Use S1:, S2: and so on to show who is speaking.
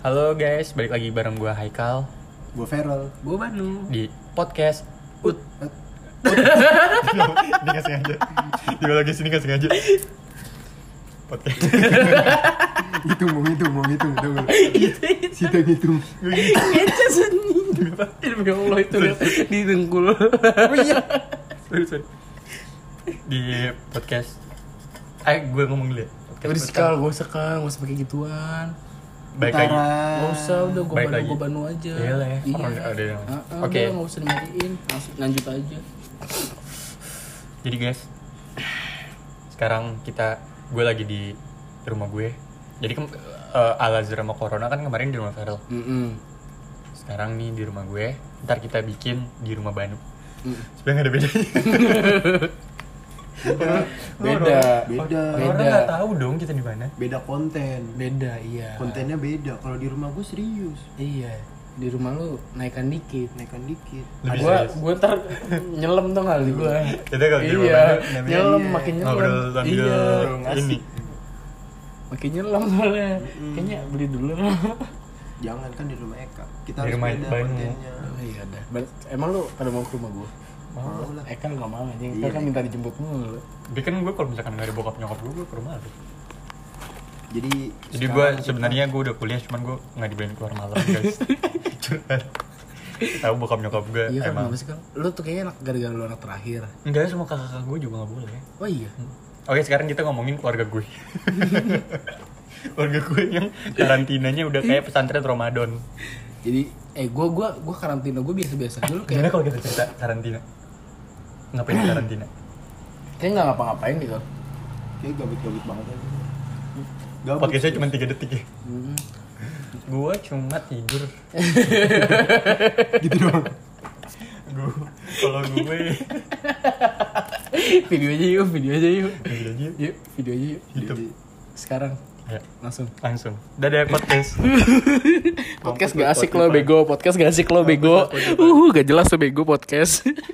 S1: Halo guys, balik lagi bareng gua Haikal
S2: Gue Feral
S3: Gue Banu.
S1: di podcast Ut.
S2: Ini gak sengaja Tiba lagi sini gak sengaja Podcast Hitung, mau hitung, mau hitung Tunggu Sita ngitung
S3: Ngece sendiri. Demi Allah itu liat di dengkul. Oh iya.
S1: Sorry, sorry. Di podcast Eh, gue ngomong dulu ya. Podcast
S3: Udah
S1: Ut.
S3: sekal, gue sekal, gak usah pakai gituan.
S1: Baik lagi.
S3: Gak usah, udah gue
S1: Baik
S3: banu,
S1: lagi.
S3: gue banu aja.
S1: Iya lah ya.
S3: Iya.
S1: Orang ada yang-
S3: Ah, ah,
S1: Oke.
S3: udah, Gak usah dimatiin, langsung lanjut aja.
S1: Jadi guys, sekarang kita gue lagi di rumah gue. Jadi kem- eh, ala drama corona kan kemarin di rumah Feral.
S3: Mm-mm.
S1: Sekarang nih di rumah gue. Ntar kita bikin di rumah Banu.
S3: Mm.
S1: Sebenarnya gak ada bedanya.
S3: Beda.
S2: Beda.
S1: Orang
S3: Beda.
S1: nggak tahu dong kita di mana.
S2: Beda konten
S3: Beda, iya.
S2: Kontennya beda Kalau di rumah gue serius
S3: Iya. Di rumah lu naikkan dikit.
S2: Naikkan dikit
S1: Lebih
S3: Gue
S1: serius.
S3: gue ntar nyelam tuh kali gue.
S1: Kita kalau di rumah
S3: Iya,
S1: Banu namanya
S3: nyelam
S2: iya.
S3: makin nyelam.
S1: ngobrol sambil
S3: Iya.
S1: ini.
S3: Makin nyelam soalnya. Kayaknya beli dulu.
S2: Jangan kan di rumah Eka Kita
S1: Di
S2: harus
S1: rumah
S2: beda
S1: Banu.
S2: kontennya
S3: Oh, iya dah. Ber- Emang lu pada mau ke rumah gue?
S2: Mau lah
S3: Eka gak mau aja, Eka kan minta dijemput mulu
S1: Dia kan gue kalau misalkan gak ada bokap nyokap gue, gue ke rumah lu.
S2: Jadi
S1: Jadi gue sebenarnya gue udah kuliah, cuman gue nggak dibolehin keluar malam guys. Curhat. Tahu bokap nyokap gue
S3: Iya kan,
S1: emang.
S3: kenapa sih kan? Lu tuh kayaknya anak gara-gara lu anak terakhir
S1: Enggak semua kakak gue juga nggak boleh.
S3: Oh iya?
S1: Oke sekarang kita ngomongin keluarga gue. keluarga gue yang karantinanya udah kayak pesantren Ramadan.
S3: Jadi, eh gue gua, gua karantina, gue biasa-biasa aja lu
S1: Gimana
S3: kayak
S1: kalau kita cerita karantina? Ngapain di karantina?
S3: Kayak gak ngapa-ngapain gitu
S2: Kayak gabut-gabut banget aja Gabut
S1: Podcastnya cuma 3 detik ya. Gue cuma tidur.
S2: gitu doang
S1: Gue kalau gue
S3: Video aja yuk, video aja yuk
S1: Ambil aja yuk.
S3: Yuk, video aja yuk
S2: Jadi
S3: Sekarang,
S1: Ya,
S3: langsung
S1: langsung. Dadah podcast.
S3: Uhuh, Podcast gak asik lo bego, podcast gak asik lo bego Uh, gak jelas lo bego podcast